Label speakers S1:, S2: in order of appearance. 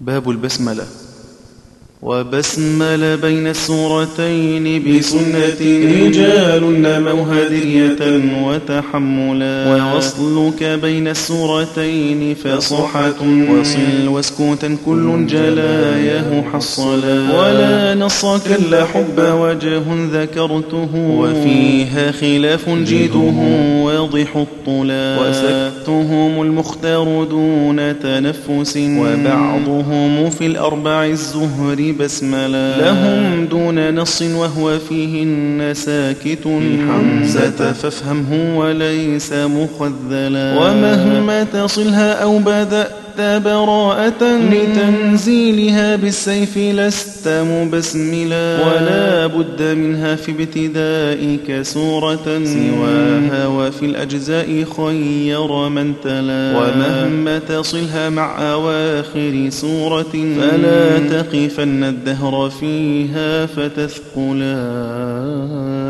S1: باب البسملة وبسمل بين السورتين بسنة رجال نموا هدية وتحملا ووصلك بين السورتين فصحة وصل واسكوتا كل جلاياه حصلا ولا نص كلا حب وجه ذكرته وفيها خلاف جيده واضح الطلا وسكتهم المختار دون تنفس وبعضهم في الأربع الزهر بسملا لهم دون نص وهو فيهن ساكت حمزة فافهمه وليس مخذلا ومهما تصلها أو بدأت براءة لتنزيلها بالسيف لست مبسملا ولا بد منها في ابتدائك سورة سواها وفي الأجزاء خير من تلا ومهما تصلها مع أواخر سورة فلا تقفن الدهر فيها فتثقلا